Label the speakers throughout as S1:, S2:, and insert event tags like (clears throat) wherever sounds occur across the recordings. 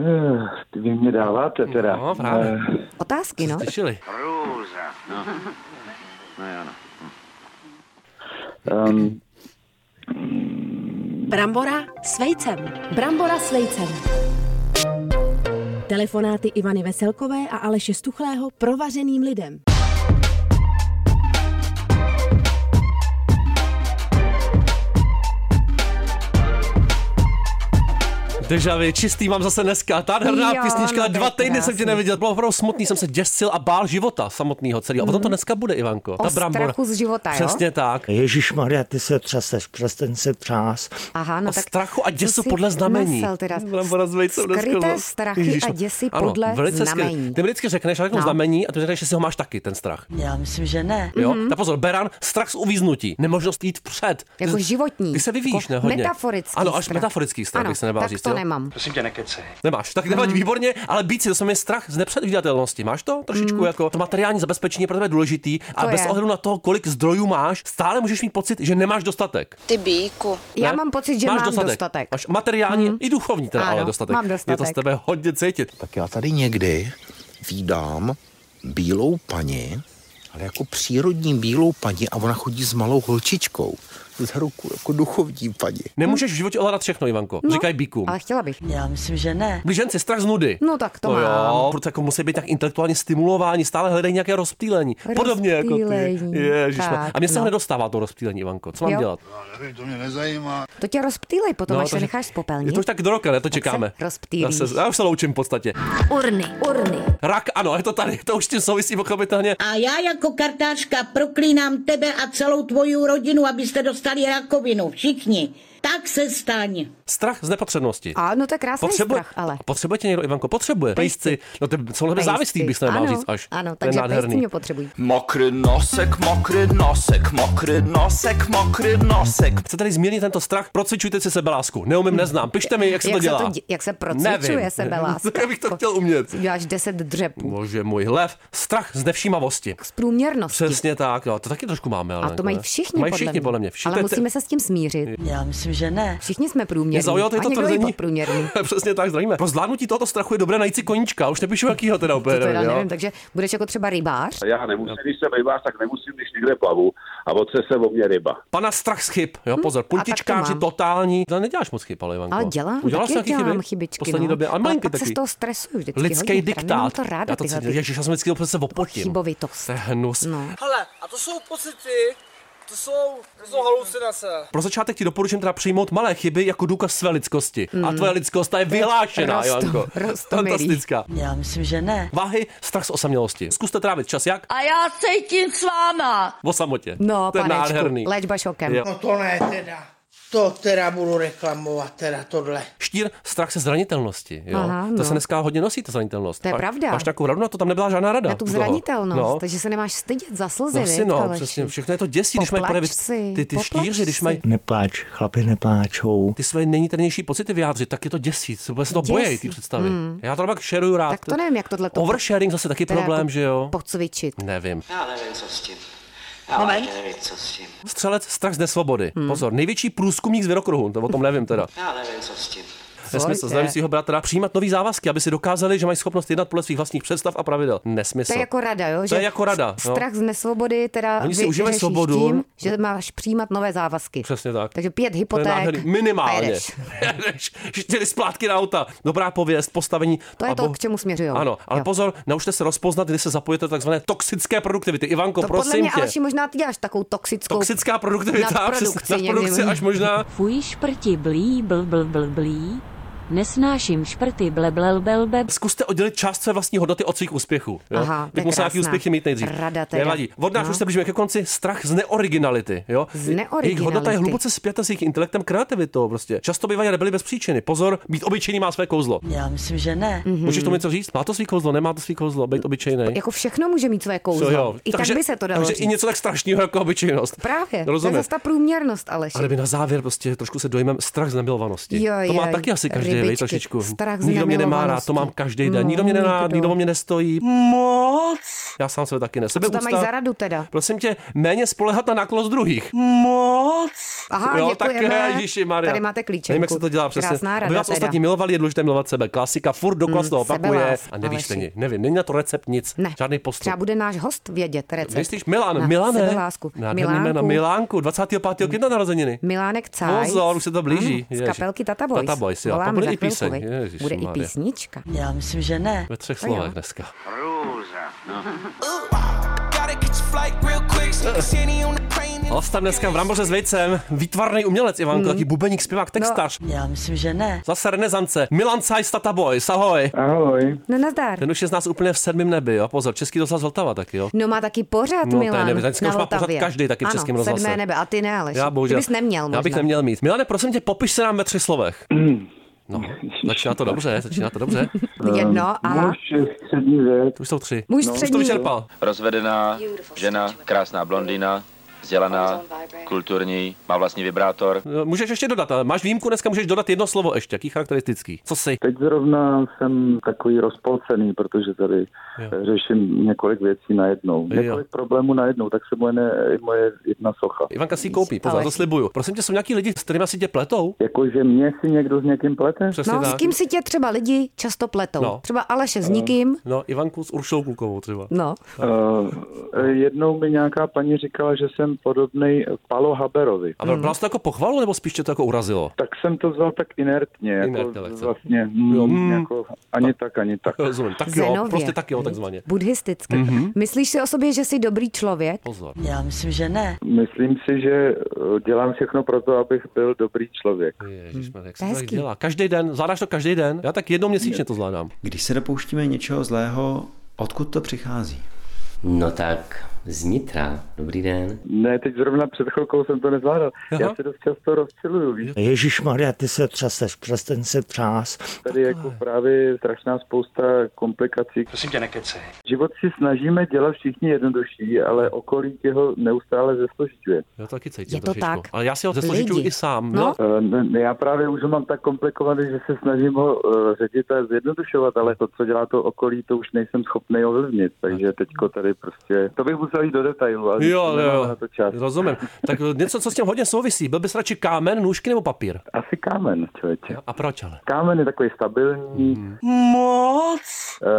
S1: Eh, Ty vy mě dáváte teda.
S2: No, právě.
S1: Eh,
S3: Otázky, no?
S2: Slyšeli?
S4: Hrůza. No. No jo, no.
S1: ehm,
S3: Brambora s vejcem.
S5: Brambora s vejcem.
S3: Telefonáty Ivany Veselkové a Aleše Stuchlého provařeným lidem.
S2: Deja vu, čistý mám zase dneska. Ta herná
S5: Jo,
S2: písnička,
S5: no to
S2: dva
S5: je
S2: týdny jsem tě
S5: krásný.
S2: neviděl, bylo opravdu smutný, jsem se děsil a bál života samotného celého. A potom to dneska bude, Ivanko.
S5: Mhm. O
S2: Ta brambora.
S5: strachu z života, jo?
S2: Přesně tak.
S6: Ježíš Maria, ty se třeseš, přestaň se třás.
S5: Aha, no
S2: O
S5: tak
S2: strachu a
S5: co
S2: děsu
S5: si
S2: podle znamení.
S5: Nasel teda.
S2: Brambora s vejcem dneska,
S5: Skryté
S2: no.
S5: strachy a
S2: Ježišmar-
S5: děsi
S2: Ano,
S5: podle
S2: velice skvělý.
S5: znamení.
S2: Ty mi vždycky řekneš, já řeknu
S5: No.
S2: znamení a ty řekneš, že si ho máš taky, ten strach.
S7: Já myslím, že ne.
S2: Jo?
S5: Mhm.
S2: Mm-hmm. Tak pozor, beran, strach z uvíznutí, nemožnost jít vpřed.
S5: Jako
S2: Ty-
S5: životní.
S2: Ty se vyvíjíš,
S5: Jako
S2: ne? Hodně.
S5: metaforický
S2: Ano, až
S5: strach.
S2: metaforický strach,
S5: Ano,
S2: bych se nebál
S5: tak
S2: říct.
S5: to
S2: jo?
S5: nemám.
S4: Prosím tě, nekecej.
S2: Nemáš. Tak nevadí,
S5: Hmm.
S2: výborně, ale být si, to jsem je strach z nepředvídatelnosti. Máš to trošičku jako to materiální zabezpečení je pro tebe je důležitý, ale
S5: Hmm. To
S2: bez
S5: je.
S2: ohledu na to, kolik zdrojů máš, stále můžeš mít pocit, že nemáš dostatek.
S7: Ty bíku.
S5: Já
S2: Ne?
S5: mám pocit, že
S2: máš
S5: mám
S2: dostatek.
S5: dostatek. Hmm.
S2: Máš materiální i duchovní teda,
S5: Ano,
S2: ale dostatek.
S5: mám
S2: Je to z
S5: dostatek.
S2: tebe hodně cítit.
S8: Tak já tady někdy vídám bílou paní, ale jako přírodní bílou paní a ona chodí s malou holčičkou. Za ruku jako duchovní paní.
S2: Nemůžeš v životě ovládat všechno, Ivanko. No, Říkají bíkům.
S5: Ale chtěla bych.
S7: Já myslím, že ne.
S2: Blíženci, strach z nudy.
S5: No tak to
S2: no jo,
S5: mám.
S2: proto jako musí být tak intelektuálně stimulováni, stále hledají nějaké rozptýlení. Podobně jako ty.
S5: Rozptýlení,
S2: Ježišmar.
S5: tak,
S2: A mě se
S5: no.
S2: ho nedostává to rozptýlení, Ivanko. Co mám
S5: Jo.
S2: dělat?
S5: To tě rozptýlej potom,
S2: No,
S5: až
S2: to
S5: se
S2: že-
S5: necháš
S2: Je
S5: spopelnit.
S2: to už tak do roka, ne? To
S5: se
S2: čekáme.
S5: rozptýlíš.
S2: Já, se, já už se loučím v podstatě.
S5: Urny, urny.
S2: Rak, ano, je to tady, to už s tím souvisí pochopitelně.
S9: A já jako kartářka proklínám tebe a celou tvoji rodinu, abyste dostali rakovinu. Všichni. Tak se staň.
S2: Strach z nepotřebnosti.
S5: A no to je krásný strach, ale.
S2: Potřebuje tě někdo, Ivanko, potřebuje.
S5: Pejsci.
S2: Pejsci. No ty jsou na tebe závislí, bych se nemal
S5: Ano,
S2: říct až. To
S5: Ano,
S2: je
S5: takže
S2: nádherný.
S5: pejsci mě potřebují.
S4: Mokrý nosek, mokrý nosek, mokrý nosek, mokrý nosek.
S2: Chcete tady změnit tento strach? Procvičujte si seberásku. Neumím, neznám. Pište mi, jak se
S5: jak
S2: to dělá.
S5: Se to, dě- jak se procvičuje
S2: (laughs) Nevím.
S5: sebeláska.
S2: Já bych to chtěl umět.
S5: Děláš deset dřepů.
S2: Bože můj, lev, strach z nevšímavosti.
S5: Z průměrnosti.
S2: Přesně tak, jo, to taky trošku máme. Ale
S5: A to mají
S2: ne?
S5: všichni,
S2: mají všichni podle mě. Všichni,
S5: Ale musíme se s tím smířit.
S7: Já myslím, že ne.
S5: Všichni jsme průměrní.
S2: Mě zaujalo
S5: a
S2: tady (laughs) to
S5: někdo i
S2: tvrzení.
S5: podprůměrný.
S2: Přesně tak, zdravíme. Pro zvládnutí tohoto strachu je dobré najít si koníčka, už nepíšu jakýho teda úplně.
S5: (laughs) To teda
S2: nevím, jo.
S5: nevím, takže budeš jako třeba rybář.
S10: Já nemusím, když jsem rybář, tak nemusím, když někde plavu a otře se o mě ryba.
S2: Pana strach z chyb, jo, pozor,
S5: Hm? tak to
S2: puntičkáři
S5: mám.
S2: totální. To neděláš moc chyb, ale Ivanko.
S5: Ale dělám,
S2: Udělal jsi
S5: taky
S2: nějaký
S5: dělám
S2: chyby?
S5: chybičky.
S2: V poslední
S5: no.
S2: době, ale
S5: ale
S2: malinky
S5: pak se z
S2: taky.
S5: toho stresuju vždycky.
S2: Lidský
S5: hodně, právě
S2: diktát.
S5: Mám to ráda,
S2: já to
S5: tyhle
S2: cítím,
S5: ty
S2: ježiš, já jsem vždycky úplně se opotím.
S5: chybovitost.
S2: To je hnus.
S5: No.
S11: Hele, a to jsou pocity, to jsou, to jsou halucinace.
S2: Pro začátek ti doporučím teda přijmout malé chyby jako důkaz své lidskosti. A
S5: Hmm.
S2: tvoje lidskost ta je vyhlášená,
S5: Rosto-
S2: Ivanko.
S5: rostomilý.
S2: Fantastická.
S7: Já myslím, že ne.
S2: Váhy, strach z osamělosti. Zkuste trávit čas jak?
S7: A já cítím s váma.
S2: O samotě.
S5: No,
S2: to je
S5: panečku,
S2: nádherný.
S5: léčba šokem.
S2: Jo.
S11: No to ne teda. To teda budu reklamovat, teda tohle.
S2: Štír, strach se zranitelnosti. Jo?
S5: Aha,
S2: To
S5: no.
S2: se dneska hodně nosí, ta zranitelnost.
S5: To je
S2: Máš-
S5: pravda.
S2: Máš takovou radu, na to tam nebyla žádná rada.
S5: Na tu
S2: u toho.
S5: zranitelnost, takže se nemáš stydět za slzy,
S2: No, si
S5: viď,
S2: no,
S5: Aleši?
S2: přesně, všechno je to děsí, když mají
S5: Poplač
S2: projevit
S5: si,
S2: ty, ty
S5: poplač
S2: štíři, když
S5: si.
S2: mají
S6: Nepláč, chlapi nepláčou.
S2: ty své nejniternější pocity vyjádřit, tak je to děsí, se vůbec to
S5: Děsí. Hmm.
S2: bojí, ty představy. Já to pak šeruju rád.
S5: Tak to nevím, jak tohle to-
S2: Oversharing zase taky
S5: Teda
S2: problém,
S5: jako
S2: že jo?
S5: Pocvičit.
S2: Nevím.
S4: Já nevím, co s tím. Já
S7: Moment.
S4: nevím, co s tím.
S2: Střelec strach z nesvobody.
S5: Hmm.
S2: Pozor, největší průzkumník z věnokruhu, to o tom nevím teda.
S4: Já nevím, co s tím.
S2: Nesmysl,
S5: je?
S2: znamená svého bratra přijímat nový závazky, aby si dokázali, že mají schopnost jednat podle svých vlastních představ a pravidel. Nesmysl.
S5: To je jako rada, jo?
S2: To je jako rada,
S5: s-
S2: no.
S5: Strach z nesvobody, teda
S2: Oni si
S5: vy-
S2: užívají
S5: vyřešíš
S2: svobodu.
S5: tím, že máš přijímat nové závazky.
S2: Přesně tak.
S5: Takže pět
S2: To je
S5: hypoték.
S2: nádherný.
S5: a
S2: Minimálně.
S5: jedeš.
S2: Jedeš. Čtyři splátky na auta. Dobrá pověst, postavení.
S5: To je
S2: a
S5: to, k čemu směřujou.
S2: Ano, ale
S5: Jo.
S2: pozor, naučte se rozpoznat, kdy se zapojete do takzvané toxické produktivity. Ivanko,
S5: To podle
S2: prosím
S5: mě,
S2: tě.
S5: Aleši, možná ty děláš takovou toxickou...
S2: Toxická produktivita, přes-
S5: nadprodukci
S2: nadprodukce
S5: někdy.
S2: až možná.
S9: Fuj šprti blí, bl, bl, bl, blí. Nesnáším šprty, ble, ble, ble, ble.
S2: Zkuste oddělit část své vlastní hodnoty od svých úspěchů. Jo?
S5: Aha, to je
S2: Teď musí nějaký
S5: krásná
S2: úspěchy mít nejdřív.
S5: rada teda.
S2: Nevadí. Od nás
S5: No.
S2: už se blížíme ke konci. Strach z neoriginality. Jo?
S5: Z
S2: Jejich hodnota je
S5: neoriginality.
S2: hluboce spjata s jejich intelektem, kreativitou. Prostě. Často bývají rebeli bez příčiny. Pozor, být obyčejný má své kouzlo.
S7: Já myslím, že ne.
S2: Můžeš tomu něco říct? Má to svý kouzlo, nemá to svý kouzlo, být obyčejný.
S5: Mhm. Jako všechno může mít své kouzlo. I tak by se to dalo
S2: Takže
S5: říct.
S2: i něco tak strašného jako obyčejnost.
S5: Právě. To je
S2: Rozumím.
S5: zase ta průměrnost, Aleši.
S2: Ale by na závěr prostě trošku se dojmem strach z nemilovanosti.
S5: Jo,
S2: to má
S5: jo,
S2: taky asi každý lidi, vy,
S5: rybičky.
S2: trošičku.
S5: Strach z
S2: Nikdo mě nemá rád,
S5: nemilovanosti.
S2: to mám každý den.
S5: No,
S2: Nikdo mě nená,
S5: nikdo.
S2: nikdo o mě nestojí. Mm, Moc. Já sám sebe taky ne.
S5: Co tam mají
S2: Sebeúcta-
S5: za radu teda?
S2: Prosím tě, méně spolehat na náklost druhých. Moc.
S5: Aha,
S2: jo,
S5: děkujeme.
S2: tak eh, Ježíši, Maria.
S5: Tady máte klíčenku.
S2: Nevím, jak se to dělá přesně.
S5: Krásná
S2: Aby
S5: rada
S2: vás
S5: teda.
S2: ostatní milovali, je důležité milovat sebe. Klasika, furt dokola
S5: Mm,
S2: se to opakuje.
S5: sebelás,
S2: A nevíš to
S5: Aleši.
S2: ni- Nevím, není na to recept nic.
S5: Ne.
S2: Žádný postup.
S5: Třeba bude náš host vědět recept.
S2: Myslíš Milan,
S5: na
S2: Milane?
S5: sebelásku.
S2: Nádherné na
S5: Milánku.
S2: Milánku, 25. května narozeniny.
S5: Milánek Cajc.
S2: Pozor, už se to blíží.
S5: Mm, z
S2: Ježiš.
S5: kapelky Tata Boys.
S2: Tata Boys, jo.
S5: Voláme
S2: Tam bude
S5: za
S2: i píseň.
S5: chvilku, viď?
S2: Ježiš
S5: Bude i
S2: Maria.
S5: písnička.
S7: Já myslím, že ne.
S2: Ve třech
S7: To jo.
S2: slovech dneska. No.
S4: Růza.
S2: Ostam dneska v Ramboře s Vejcem, výtvarný umělec Ivanko,
S5: Mm.
S2: taky bubeník, zpěvák, textař.
S5: No.
S7: Já myslím, že ne.
S2: Zase renesance. Milan Sajs, Tata Boys, ahoj.
S1: Ahoj.
S5: No nazdar.
S2: Ten už je z nás úplně v sedmém nebi, jo? Pozor, Český rozhlas Vltava taky, jo?
S5: No má taky pořád
S2: No, to je
S5: Milan
S2: neuvěřitelné. Dneska
S5: na
S2: už má pořád
S5: Vltavě.
S2: každý taky v
S5: ano,
S2: Českém rozhlase.
S5: sedmé nebe, a ty ne, Aleš.
S2: Já bohužel.
S5: Ty bys neměl možná. Mm.
S2: Já bych neměl mít. Milane, prosím tě, popiš se nám ve třech slovech. No, začíná to dobře, začíná to dobře.
S5: Jedno a...
S1: Muž střední věk.
S2: Už jsou tři.
S5: Muž
S2: no, už
S5: střední
S2: to
S5: věk.
S2: vyčerpal.
S12: Rozvedená, žena, krásná blondýna, vzdělaná, kulturní, má vlastní vibrátor.
S2: No, Můžeš ještě dodat, ale máš výjimku, dneska můžeš dodat jedno slovo ještě, jaký charakteristický. Co jsi?
S1: Teď zrovna jsem takový rozpolcený, protože tady eh,
S2: Jo.
S1: řeším několik věcí najednou.
S2: Jo.
S1: Několik problémů najednou, tak se moje, ne, moje jedna socha.
S2: Ivanka si ji koupí, pozor,
S1: Ale-
S2: to slibuju. Prosím tě, jsou nějaký lidi, s kterými si tě pletou?
S1: Jakože mě si někdo s někým plete?
S2: Přesně
S5: No,
S2: tak.
S5: s kým si tě třeba lidi často pletou?
S2: No.
S5: Třeba Aleše s nikým?
S2: No, Ivanku s Uršou Klukovou třeba.
S5: No.
S1: Uh, jednou mi nějaká paní říkala, že jsem podobný Palo Haberovi.
S2: A bral jsi to jako pochvalu, nebo spíš tě to jako urazilo? (laughs)
S1: Tak jsem to vzal tak inertně, jako
S2: Inertně lehce.
S1: vlastně mm,
S2: Mm.
S1: jako ani tak, ani tak.
S2: Rozumím, tak jo,
S5: Zenově. Mm.
S2: prostě tak jo, takzvaně.
S5: Buddhisticky.
S2: Mhm.
S5: Myslíš si o sobě, že jsi dobrý člověk?
S2: Pozor.
S7: Já myslím, že ne.
S1: Myslím si, že eh, dělám všechno pro to, abych byl dobrý člověk.
S2: Hmm. Ježišmarja, jak
S1: To
S2: se
S1: je
S2: to tak
S1: hezký.
S2: dělá? Každý den, zvládáš to každý den? Já tak jednou měsíčně to zvládám.
S13: Když se dopouštíme něčeho zlého, odkud to přichází?
S14: No tak, znitra. Dobrý den.
S1: Ne, teď zrovna před chvilkou jsem to nezvládal. Já se dost často rozčiluju, víš?
S6: Ježíš Maria, ty se třaseš, přestaň se třás.
S1: Tady jako právě strašná spousta komplikací.
S13: Prosím tě, nekecej.
S1: Život si snažíme dělat všichni jednodušší, ale
S2: Hmm.
S1: okolí tě ho neustále zesložituje.
S2: Já to taky cítím
S1: Je to
S2: trošičku.
S1: tak.
S2: Ale já si ho zesložičuji
S1: Lidi.
S2: i sám.
S1: Eh, ne- ne, Já právě už ho mám tak komplikovaný, že se snažím ho eh, ředit a zjednodušovat, ale to, co dělá to okolí, to už nejsem schopný ovlivnit. Takže teďko tady prostě... To bych musel jít do detailu, ale
S2: Hmm. Jo,
S1: nemám
S2: jo,
S1: na to čas.
S2: rozumím. Tak něco, co s tím hodně souvisí. Byl bys radši kámen, nůžky nebo papír?
S1: Asi kámen, člověče.
S2: A proč ale?
S1: Kámen je takový stabilní, hmm.
S2: Moc.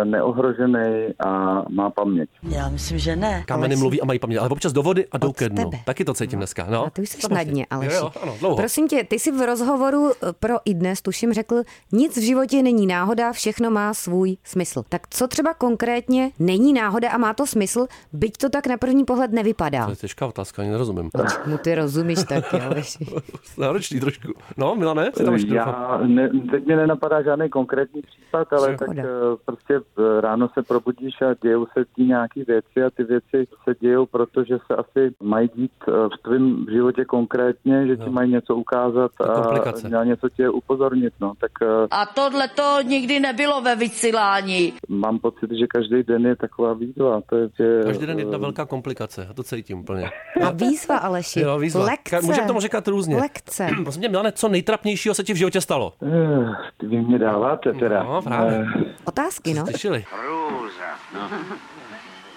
S1: neohrožený a má paměť.
S7: Já myslím, že ne.
S2: Kameny
S7: Aleš.
S2: mluví a mají paměť, ale občas do vody a jdou ke dnu. Taky to cítím dneska. No. A
S5: ty už jsi na dně, Aleši.
S2: Jo, jo, ano, dlouho.
S5: Prosím tě, ty jsi v rozhovoru eh, pro i dnes, tuším, řekl, nic v životě není náhoda, všechno má svůj smysl. Tak co třeba konkrétně není náhoda a má to smysl, byť to tak na první pohled nevypadá?
S2: To je těžká otázka, ani nerozumím.
S5: Mu ty rozumíš taky, Aleši.
S2: (laughs) Náročný trošku. No, Milane, jsi tam ještě
S1: Já,
S2: doufám.
S1: ne, teď mě nenapadá žádný konkrétní případ, ale tak
S5: Škoda.
S1: eh, prostě eh, ráno se probudíš a dějou se ti nějaké věci a ty věci se dějou, protože se asi mají dít eh, v tvém životě konkrétně, že ti mají něco ukázat
S2: komplikace.
S1: a na něco tě upozornit. No. Tak eh,
S7: A tohle to nikdy nebylo ve vysílání.
S1: mám pocit, že každý den je taková výzva. To je, že,
S2: Každý den jedna
S1: eh,
S2: velká komplikace, já to cítím úplně. (clears throat)
S5: A výzva, Aleši.
S2: Jo, výzva.
S5: Lekce.
S2: Ka- Můžeme tomu říkat různě. (clears throat)
S5: Lekce.
S2: Prosím tě, Milane, co nejtrapnějšího se ti v životě stalo?
S1: eh, Ty vy mě dáváte teda.
S2: No, právě.
S1: Eh,
S5: Otázky, no.
S2: Slyšeli?
S4: Růza. No.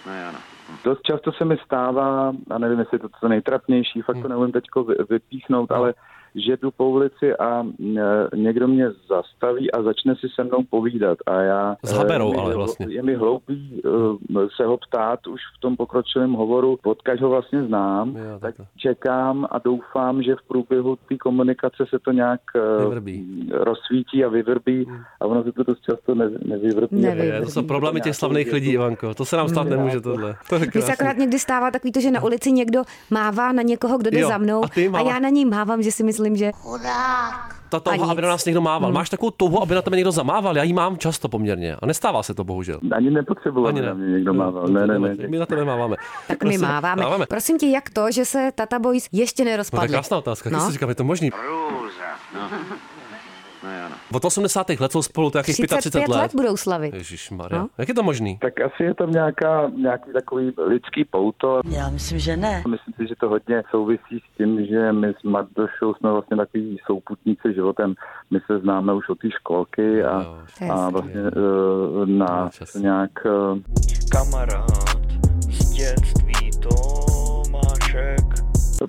S4: No jo, no.
S1: Dost často se mi stává, a nevím, jestli je to co nejtrapnější, fakt to
S2: Hmm.
S1: neumím teď jako
S2: No.
S1: vypíchnout, ale že jdu po ulici a mm, někdo mě zastaví a začne si se mnou povídat. A já,
S2: S Haberou
S1: eh,
S2: ale
S1: je-
S2: vlastně.
S1: Je mi hloupý eh, se ho ptát už v tom pokročilém hovoru, odkaď ho vlastně znám,
S2: Jo,
S1: tak čekám a doufám, že v průběhu té komunikace se to nějak eh, rozsvítí a vyvrbí
S2: Hmm.
S1: a ono se to dost často ne, nevyvrbí.
S2: Je, to jsou problémy těch slavných lidí, Ivanko. To se nám stát nemůže tohle. To je
S5: Mně se
S2: krásný.
S5: akorát někdy stává takový to, že na ulici někdo mává na někoho, kdo jde
S2: Jo,
S5: za mnou
S2: a ty
S5: a
S2: máváš.
S5: já na něj mávám, že si myslím, že...
S2: Ta touha, aby na nás někdo
S5: Mhm.
S2: mával. Máš takovou touhu, aby na tebe někdo zamával? Já ji mám často poměrně. A nestává se to, bohužel.
S1: Ani nepotřeboval,
S2: Ani
S1: aby na
S2: ne. Hmm. Mhm.
S1: mě někdo mával. Ne, ne, ne.
S2: My na tebe máváme.
S5: Tak my máváme. Prosím tě, jak to, že se Tata Boys ještě
S2: No, to je
S5: nerozpadli?
S2: krásná otázka. Jak
S5: No.
S2: si říkám, je to možný?
S4: Růza. No. No jo, no.
S2: Od 80. let jsou spolu, to jakých 35 let.
S5: let budou slavit.
S2: Ježíš Maria.
S5: No.
S2: Jak je to možný?
S1: Tak asi je tam nějaká, nějaký takový lidský pouto.
S7: Já myslím, že ne.
S1: Myslím si, že to hodně souvisí s tím, že my s Mardošou jsme vlastně takový souputníci životem. My se známe už od té školky a,
S10: Jo,
S1: a
S10: hezky.
S1: vlastně uh, nás nějak... Uh,
S10: Kamarád z dětství Tomášek.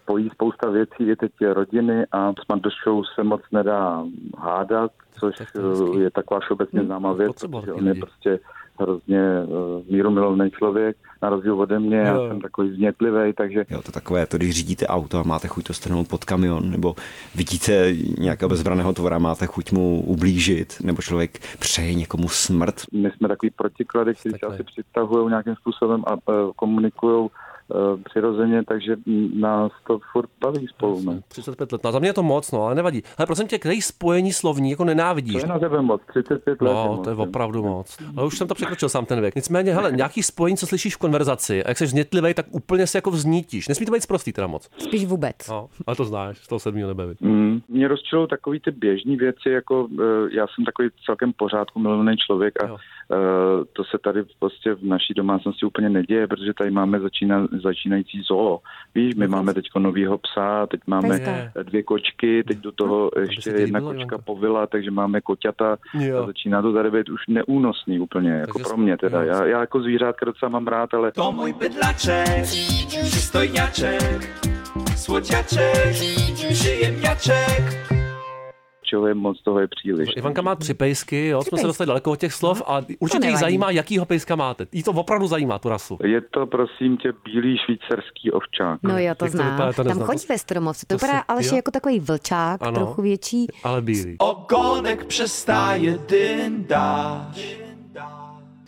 S1: pojí spousta věcí, je teď rodiny a s Mandošou se moc nedá hádat, což eh, je taková všeobecně známá věc, protože on je prostě hrozně uh, mírumilovný člověk, na rozdíl ode mě, já
S15: Jo.
S1: jsem takový znětlivý, takže
S15: Jo, to takové, to když řídíte auto a máte chuť to strhnout pod kamion, nebo vidíte nějakého bezbraného tvora, máte chuť mu ublížit, nebo člověk přeje někomu smrt.
S1: my jsme takový protiklady, kteří se asi přitahují nějakým způsobem a e, komunikují e, přirozeně, takže mm, nás to furt baví spolu. No.
S2: 35 let. No, za mě je to moc, no, ale nevadí. Ale prosím tě, který spojení slovní jako nenávidíš?
S1: To je na tebe moc, 35 let.
S2: No,
S1: moc,
S2: to je
S1: no.
S2: opravdu moc. Ale už jsem to překročil sám ten věk. Nicméně, hele, nějaký spojení, co slyšíš v konverzaci, a jak jsi znětlivý, tak úplně se jako vznítíš. Nesmí to být zprostý teda moc.
S5: Spíš vůbec.
S2: No, ale to znáš, z toho sedmého nebevit.
S1: Mm. Mě rozčilou takový ty běžní věci, jako eh, já jsem takový celkem v pořádku milovaný člověk a eh, to se tady prostě v naší domácnosti úplně neděje, protože tady máme začína, začínající zoo. Víš, my máme teď novýho psa, teď máme
S10: Pejska.
S1: eh, dvě kočky, teď do toho ještě
S10: ti
S1: jedna
S10: líbilo,
S1: kočka povila, takže máme koťata
S10: Jo.
S1: a začíná to tady být už neúnosný úplně, jako pro mě teda. Já, já jako zvířátka docela mám rád, ale...
S4: To můj bydlaček, přistojňaček, svodňaček, žije mňaček.
S1: Čeho je moc, toho je příliš.
S2: Ivanka má tři pejsky, No, jo, jsme se
S1: pejsky.
S2: dostali daleko od těch slov a určitě jí
S1: nevadí.
S2: zajímá, jakýho pejska máte. Jí to opravdu zajímá, tu rasu.
S1: Je to, prosím tě, bílý švýcarský ovčák.
S5: No jo, to
S2: Jak to
S5: znám.
S2: vypadá, to
S5: Tam
S2: neznám.
S5: chodí ve stromovce. To
S2: To
S5: vypadá
S2: se-
S5: ale
S2: jo.
S5: že jako takový vlčák,
S2: Ano.
S5: trochu větší.
S2: Ale bílý.
S4: Ogonek přestáje dyndat.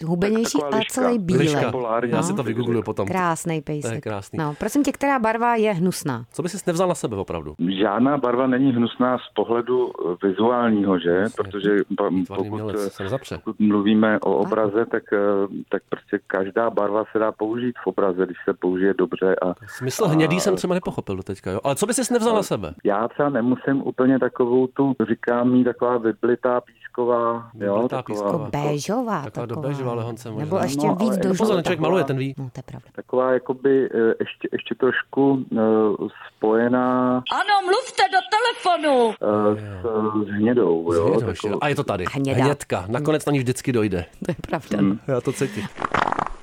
S5: Hubenější, ale celý bílý.
S2: Liška polární, já si to vygoogluju potom.
S5: Krásný
S2: To je
S5: pejsek.
S2: krásný.
S5: No, prosím tě, která barva je hnusná? Jako
S2: Co by si nevzal na sebe opravdu?
S1: Žádná barva není hnusná z pohledu eh, vizuálního, že? Protože pa- pokud, eh, pokud mluvíme o obraze, tak, eh, tak prostě každá barva se dá použít v obraze, když se použije dobře. A,
S2: Smysl
S1: a-
S2: hnědý jsem třeba nepochopil do teďka, jo. Ale co by si nevzal na sebe?
S1: Já třeba nemusím úplně takovou tu, říkám mi taková vyblitá písková, jo,
S2: Vyblitá
S1: taková,
S2: písková.
S5: Béžová
S2: Taková do béžová lehonce možná.
S5: Nebo ještě
S1: No,
S5: víc
S1: ale-
S5: do
S1: No,
S5: žluté.
S1: pozor,
S2: člověk maluje, ten ví.
S5: No, to je pravda. (laughs)
S1: taková jakoby eh, ještě, ještě trošku eh, spojená
S7: Ano, mluvte do telefonu.
S1: eh, s, s hnědou, jo.
S2: Hnědou ještě, A je to tady.
S1: Hnědá.
S2: Hnědka. Nakonec na ní vždycky dojde.
S5: To je pravda.
S1: Hmm.
S2: Já to cítím.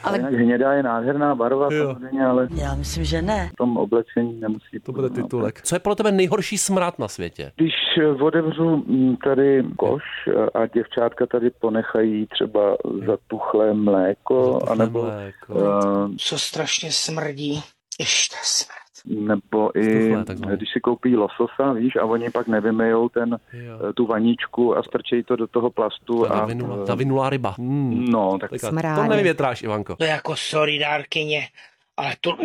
S1: Ale... Jinak hnědá je nádherná barva, samozřejmě, ale
S7: Já myslím, že ne.
S1: v tom oblečení nemusí
S2: To bude titulek. Co je podle tebe nejhorší smrad na světě?
S1: Když eh, otevřu mm, tady koš eh, a děvčátka tady ponechají třeba zatuchlé mléko, anebo,
S2: mléko.
S1: Uh,
S16: Co strašně smrdí. Ještě smrdí.
S1: nebo i
S16: Ztuchlé, takzvané.
S1: když si koupí lososa, víš, a oni pak nevymejou ten, eh, tu vaničku a strčejí to do toho plastu.
S2: Ta
S1: a,
S2: vinula,
S1: eh,
S2: ta vinulá ryba. Hmm.
S1: No, tak
S2: to nevyvětráš, Ivanko.
S16: To je jako sorry dárkyně, ale to...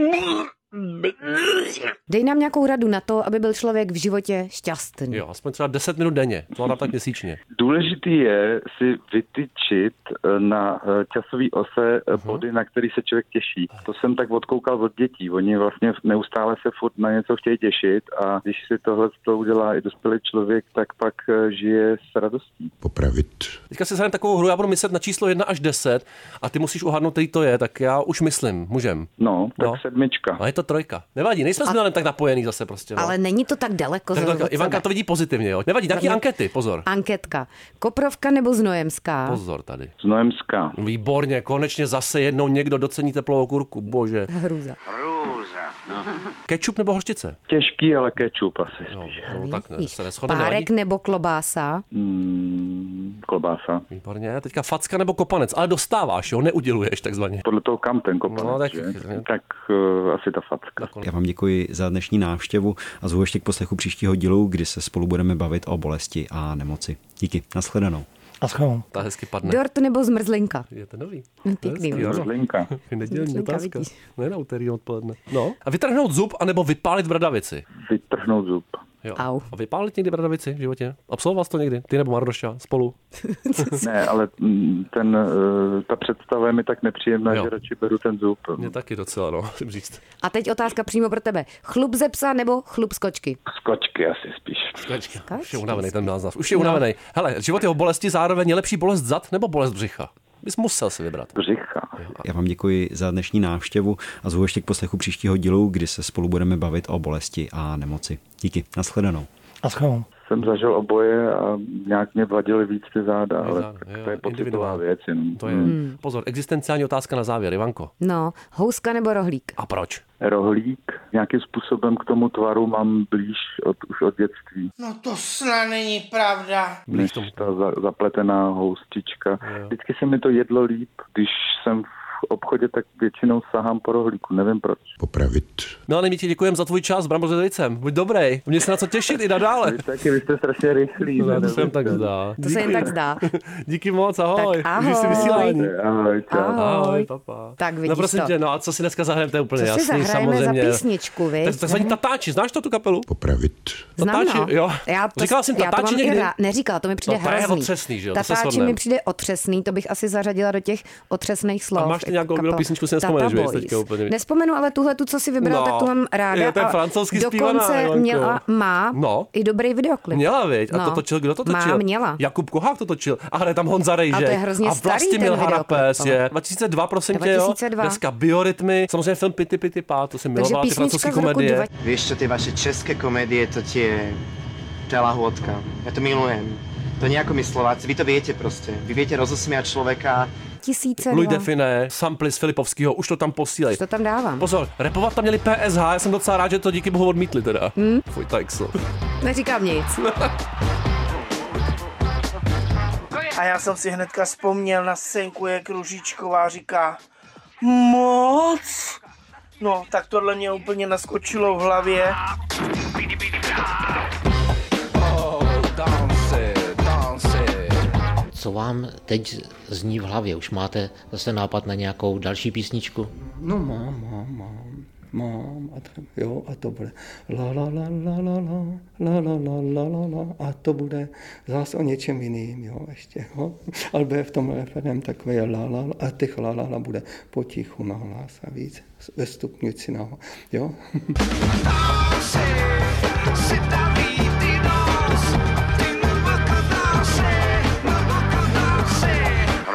S5: Dej nám nějakou radu na to, aby byl člověk v životě šťastný.
S2: Jo, aspoň třeba 10 minut denně. To mám tak měsíčně.
S1: Důležitý je si vytyčit eh, na eh, časový ose
S2: Mhm.
S1: eh, body, na který se člověk těší. To jsem tak odkoukal od dětí. Oni vlastně neustále se furt na něco chtějí těšit a když si tohle to udělá i dospělý člověk, tak pak eh, žije s radostí.
S2: Teďka si zahrám takovou hru, já budu myslet na číslo 1 až 10 a ty musíš uhadnout, který to je, tak já už myslím, můžem.
S1: No, tak sedmička.
S2: A je to trojka. Nevadí, nejsme s Milanem tak napojený zase prostě. No.
S5: Ale není to tak daleko.
S2: tak,
S5: zrovna
S2: tak,
S5: od
S2: Ivanka
S5: sebe.
S2: to vidí pozitivně, jo. Nevadí, nějaký
S5: Za mě-
S2: ankety, pozor.
S5: Anketka. Koprovka nebo Znojemská?
S2: Pozor tady.
S1: Znojemská.
S2: Výborně, konečně zase jednou někdo docení teplou kurku, bože.
S5: Hruza.
S1: Růza.
S2: Kečup nebo hořčice?
S1: Těžký, ale kečup asi. No,
S2: no, tak ne, se neschodne, nevadí.
S5: Hm? Párek nebo klobása?
S1: Mm, klobása.
S2: Výborně, teďka facka nebo kopanec, ale dostáváš, jo, neuděluješ takzvaně.
S1: Podle toho, kam ten kopanec,
S2: no, tak,
S1: tak uh, asi ta facka.
S15: Já vám děkuji za dnešní návštěvu a zvu ještě k poslechu příštího dílu, kdy se spolu budeme bavit o bolesti a nemoci. Díky, nashledanou.
S6: A schom.
S2: Ta hezky padne.
S5: Dort nebo zmrzlinka?
S2: Je to nový.
S5: No, pěkný.
S2: Hezký, ano.
S1: Zmrzlinka.
S2: Nedělní
S5: Zmrzlinka,
S2: otázka.
S5: vidíš.
S2: No. Ne na úterý odpoledne. No. A vytrhnout zub anebo vypálit bradavici.
S1: Vytrhnout zub.
S2: Jo.
S5: Au.
S2: A vypálit někdy bradavici v životě? Absolvoval jsi to někdy? Ty nebo Mardoša spolu?
S1: (laughs) Ne, ale mm, ten, eh, ta představa je mi tak nepříjemná,
S2: Jo.
S1: že radši beru ten zub.
S2: Mě taky docela, no, (laughs) musím říct.
S5: A teď otázka přímo pro tebe. Chlup ze psa nebo chlup z kočky?
S1: Skočky asi spíš.
S2: Skočky. Už je unavený ten název.
S5: No.
S2: Už je unavený. Hele, život jeho bolesti zároveň je lepší bolest zad nebo bolest břicha? Bys musel si vybrat.
S1: Břicha.
S15: Já vám děkuji za dnešní návštěvu a zvu ještě k poslechu příštího dílu, kdy se spolu budeme bavit o bolesti a nemoci. Díky, nashledanou.
S6: A schvál.
S1: Jsem zažil oboje a nějak mě vadily víc ty záda, ale tak to je pocitová věc. Jenom.
S2: To je,
S5: Hmm.
S2: pozor, existenciální otázka na závěr, Ivanko.
S5: No, houska nebo rohlík?
S2: A proč?
S1: Rohlík. Nějakým způsobem k tomu tvaru mám blíž od, už od dětství.
S16: No to snad není pravda.
S1: Než ta za, zapletená houstička. Vždycky se mi to jedlo líp. Když jsem v obchodě, tak většinou sahám po rohlíku. Nevím proč.
S2: No ale my ti děkujeme za tvůj čas, Brambo Zedejcem. Buď dobrý, mě se na co těšit i nadále.
S1: Vy taky, vy jste strašně rychlí.
S2: No, to
S1: ne?
S2: se jen tak zdá.
S5: To se jen
S2: Díky.
S5: tak zdá.
S2: Díky moc, ahoj.
S5: Tak
S2: Užij si
S5: ahoj.
S2: vysílání.
S1: Ahoj, čau.
S2: Ahoj, papa.
S5: Tak vidíš
S2: no prosím
S5: to.
S2: tě, no a co si dneska zahrajeme, to je úplně
S5: Co si
S2: jasný,
S5: zahrajeme
S2: samozřejmě.
S5: za písničku, viď?
S2: Tak, tak zvaní Tatáči, znáš to tu kapelu? Popravit.
S5: Znám,
S2: Tatáči,
S5: no.
S2: jo.
S5: Já to,
S2: Říkala jsem
S5: já to
S2: Tatáči
S5: mám i
S2: někdy?
S5: rá- Neříkala, to mi přijde
S2: No, to je
S5: hrozný.
S2: otřesný, že jo, to se
S5: Tatáči
S2: shodneme.
S5: mi přijde otřesný, to bych asi zařadila do těch otřesných slov.
S2: máš ty
S5: jako
S2: nějakou oblíbenou
S5: kapela.
S2: písničku, si
S5: Tata
S2: nespomeneš, že jo,
S5: Boys.
S2: teďka úplně.
S5: Nespomenu, ale tuhle, tu, co si vybral,
S2: No.
S5: tak tu mám ráda.
S2: Jo, to je
S5: a
S2: francouzsky
S5: Dokonce
S2: zpívaná, Ivanko.
S5: měla, má
S2: No.
S5: i dobrý videoklip.
S2: Měla, viď? A
S5: No.
S2: to točil, kdo to točil?
S5: Má, měla.
S2: Jakub Kohák to točil. A hraje tam Honza Rejže.
S5: A to je hrozně
S2: A
S5: starý
S2: Vlastimil
S5: ten
S2: Harapes
S5: videoklip, ale.
S2: je. 2002, prosím tě, jo.
S5: 2002.
S2: Dneska Biorytmy, samozřejmě film Pity Pity Pá, to jsem
S5: Takže
S2: milovala, ty
S5: písnička
S2: francouzské
S5: z roku
S2: komedie.
S17: Vieš čo, tie vaše české komédie, to ti je tá lahôdka. Ja to milujem. To nie ako my Slováci, vy to viete proste. Vy viete rozosmiať človeka.
S5: Tisíce
S2: Louis
S5: dva.
S2: Define, samply z Filipovského, už to tam posílej.
S5: To tam dávám.
S2: Pozor, repovat tam měli PSH, já jsem docela rád, že to díky bohu odmítli teda.
S5: Hm?
S2: Hmm? Fuj, tak so.
S5: Neříkám nic.
S16: A já jsem si hnedka vzpomněl na scénku, jak Ružičková říká moc. No, tak tohle mě úplně naskočilo v hlavě.
S18: Co vám teď zní v hlavě? Už máte zase nápad na nějakou další písničku?
S19: No mám, mám, mám, mám a to, jo a to bude la la la la la la la la la la la la a to bude zás o něčem jiným, jo ještě, jo. Ale bude v tom referém takové la la la a těch la la la no, bude potichu na hlas a víc ve stupňující naho, jo.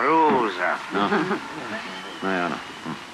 S20: Růza. No. No jo, no. Hm.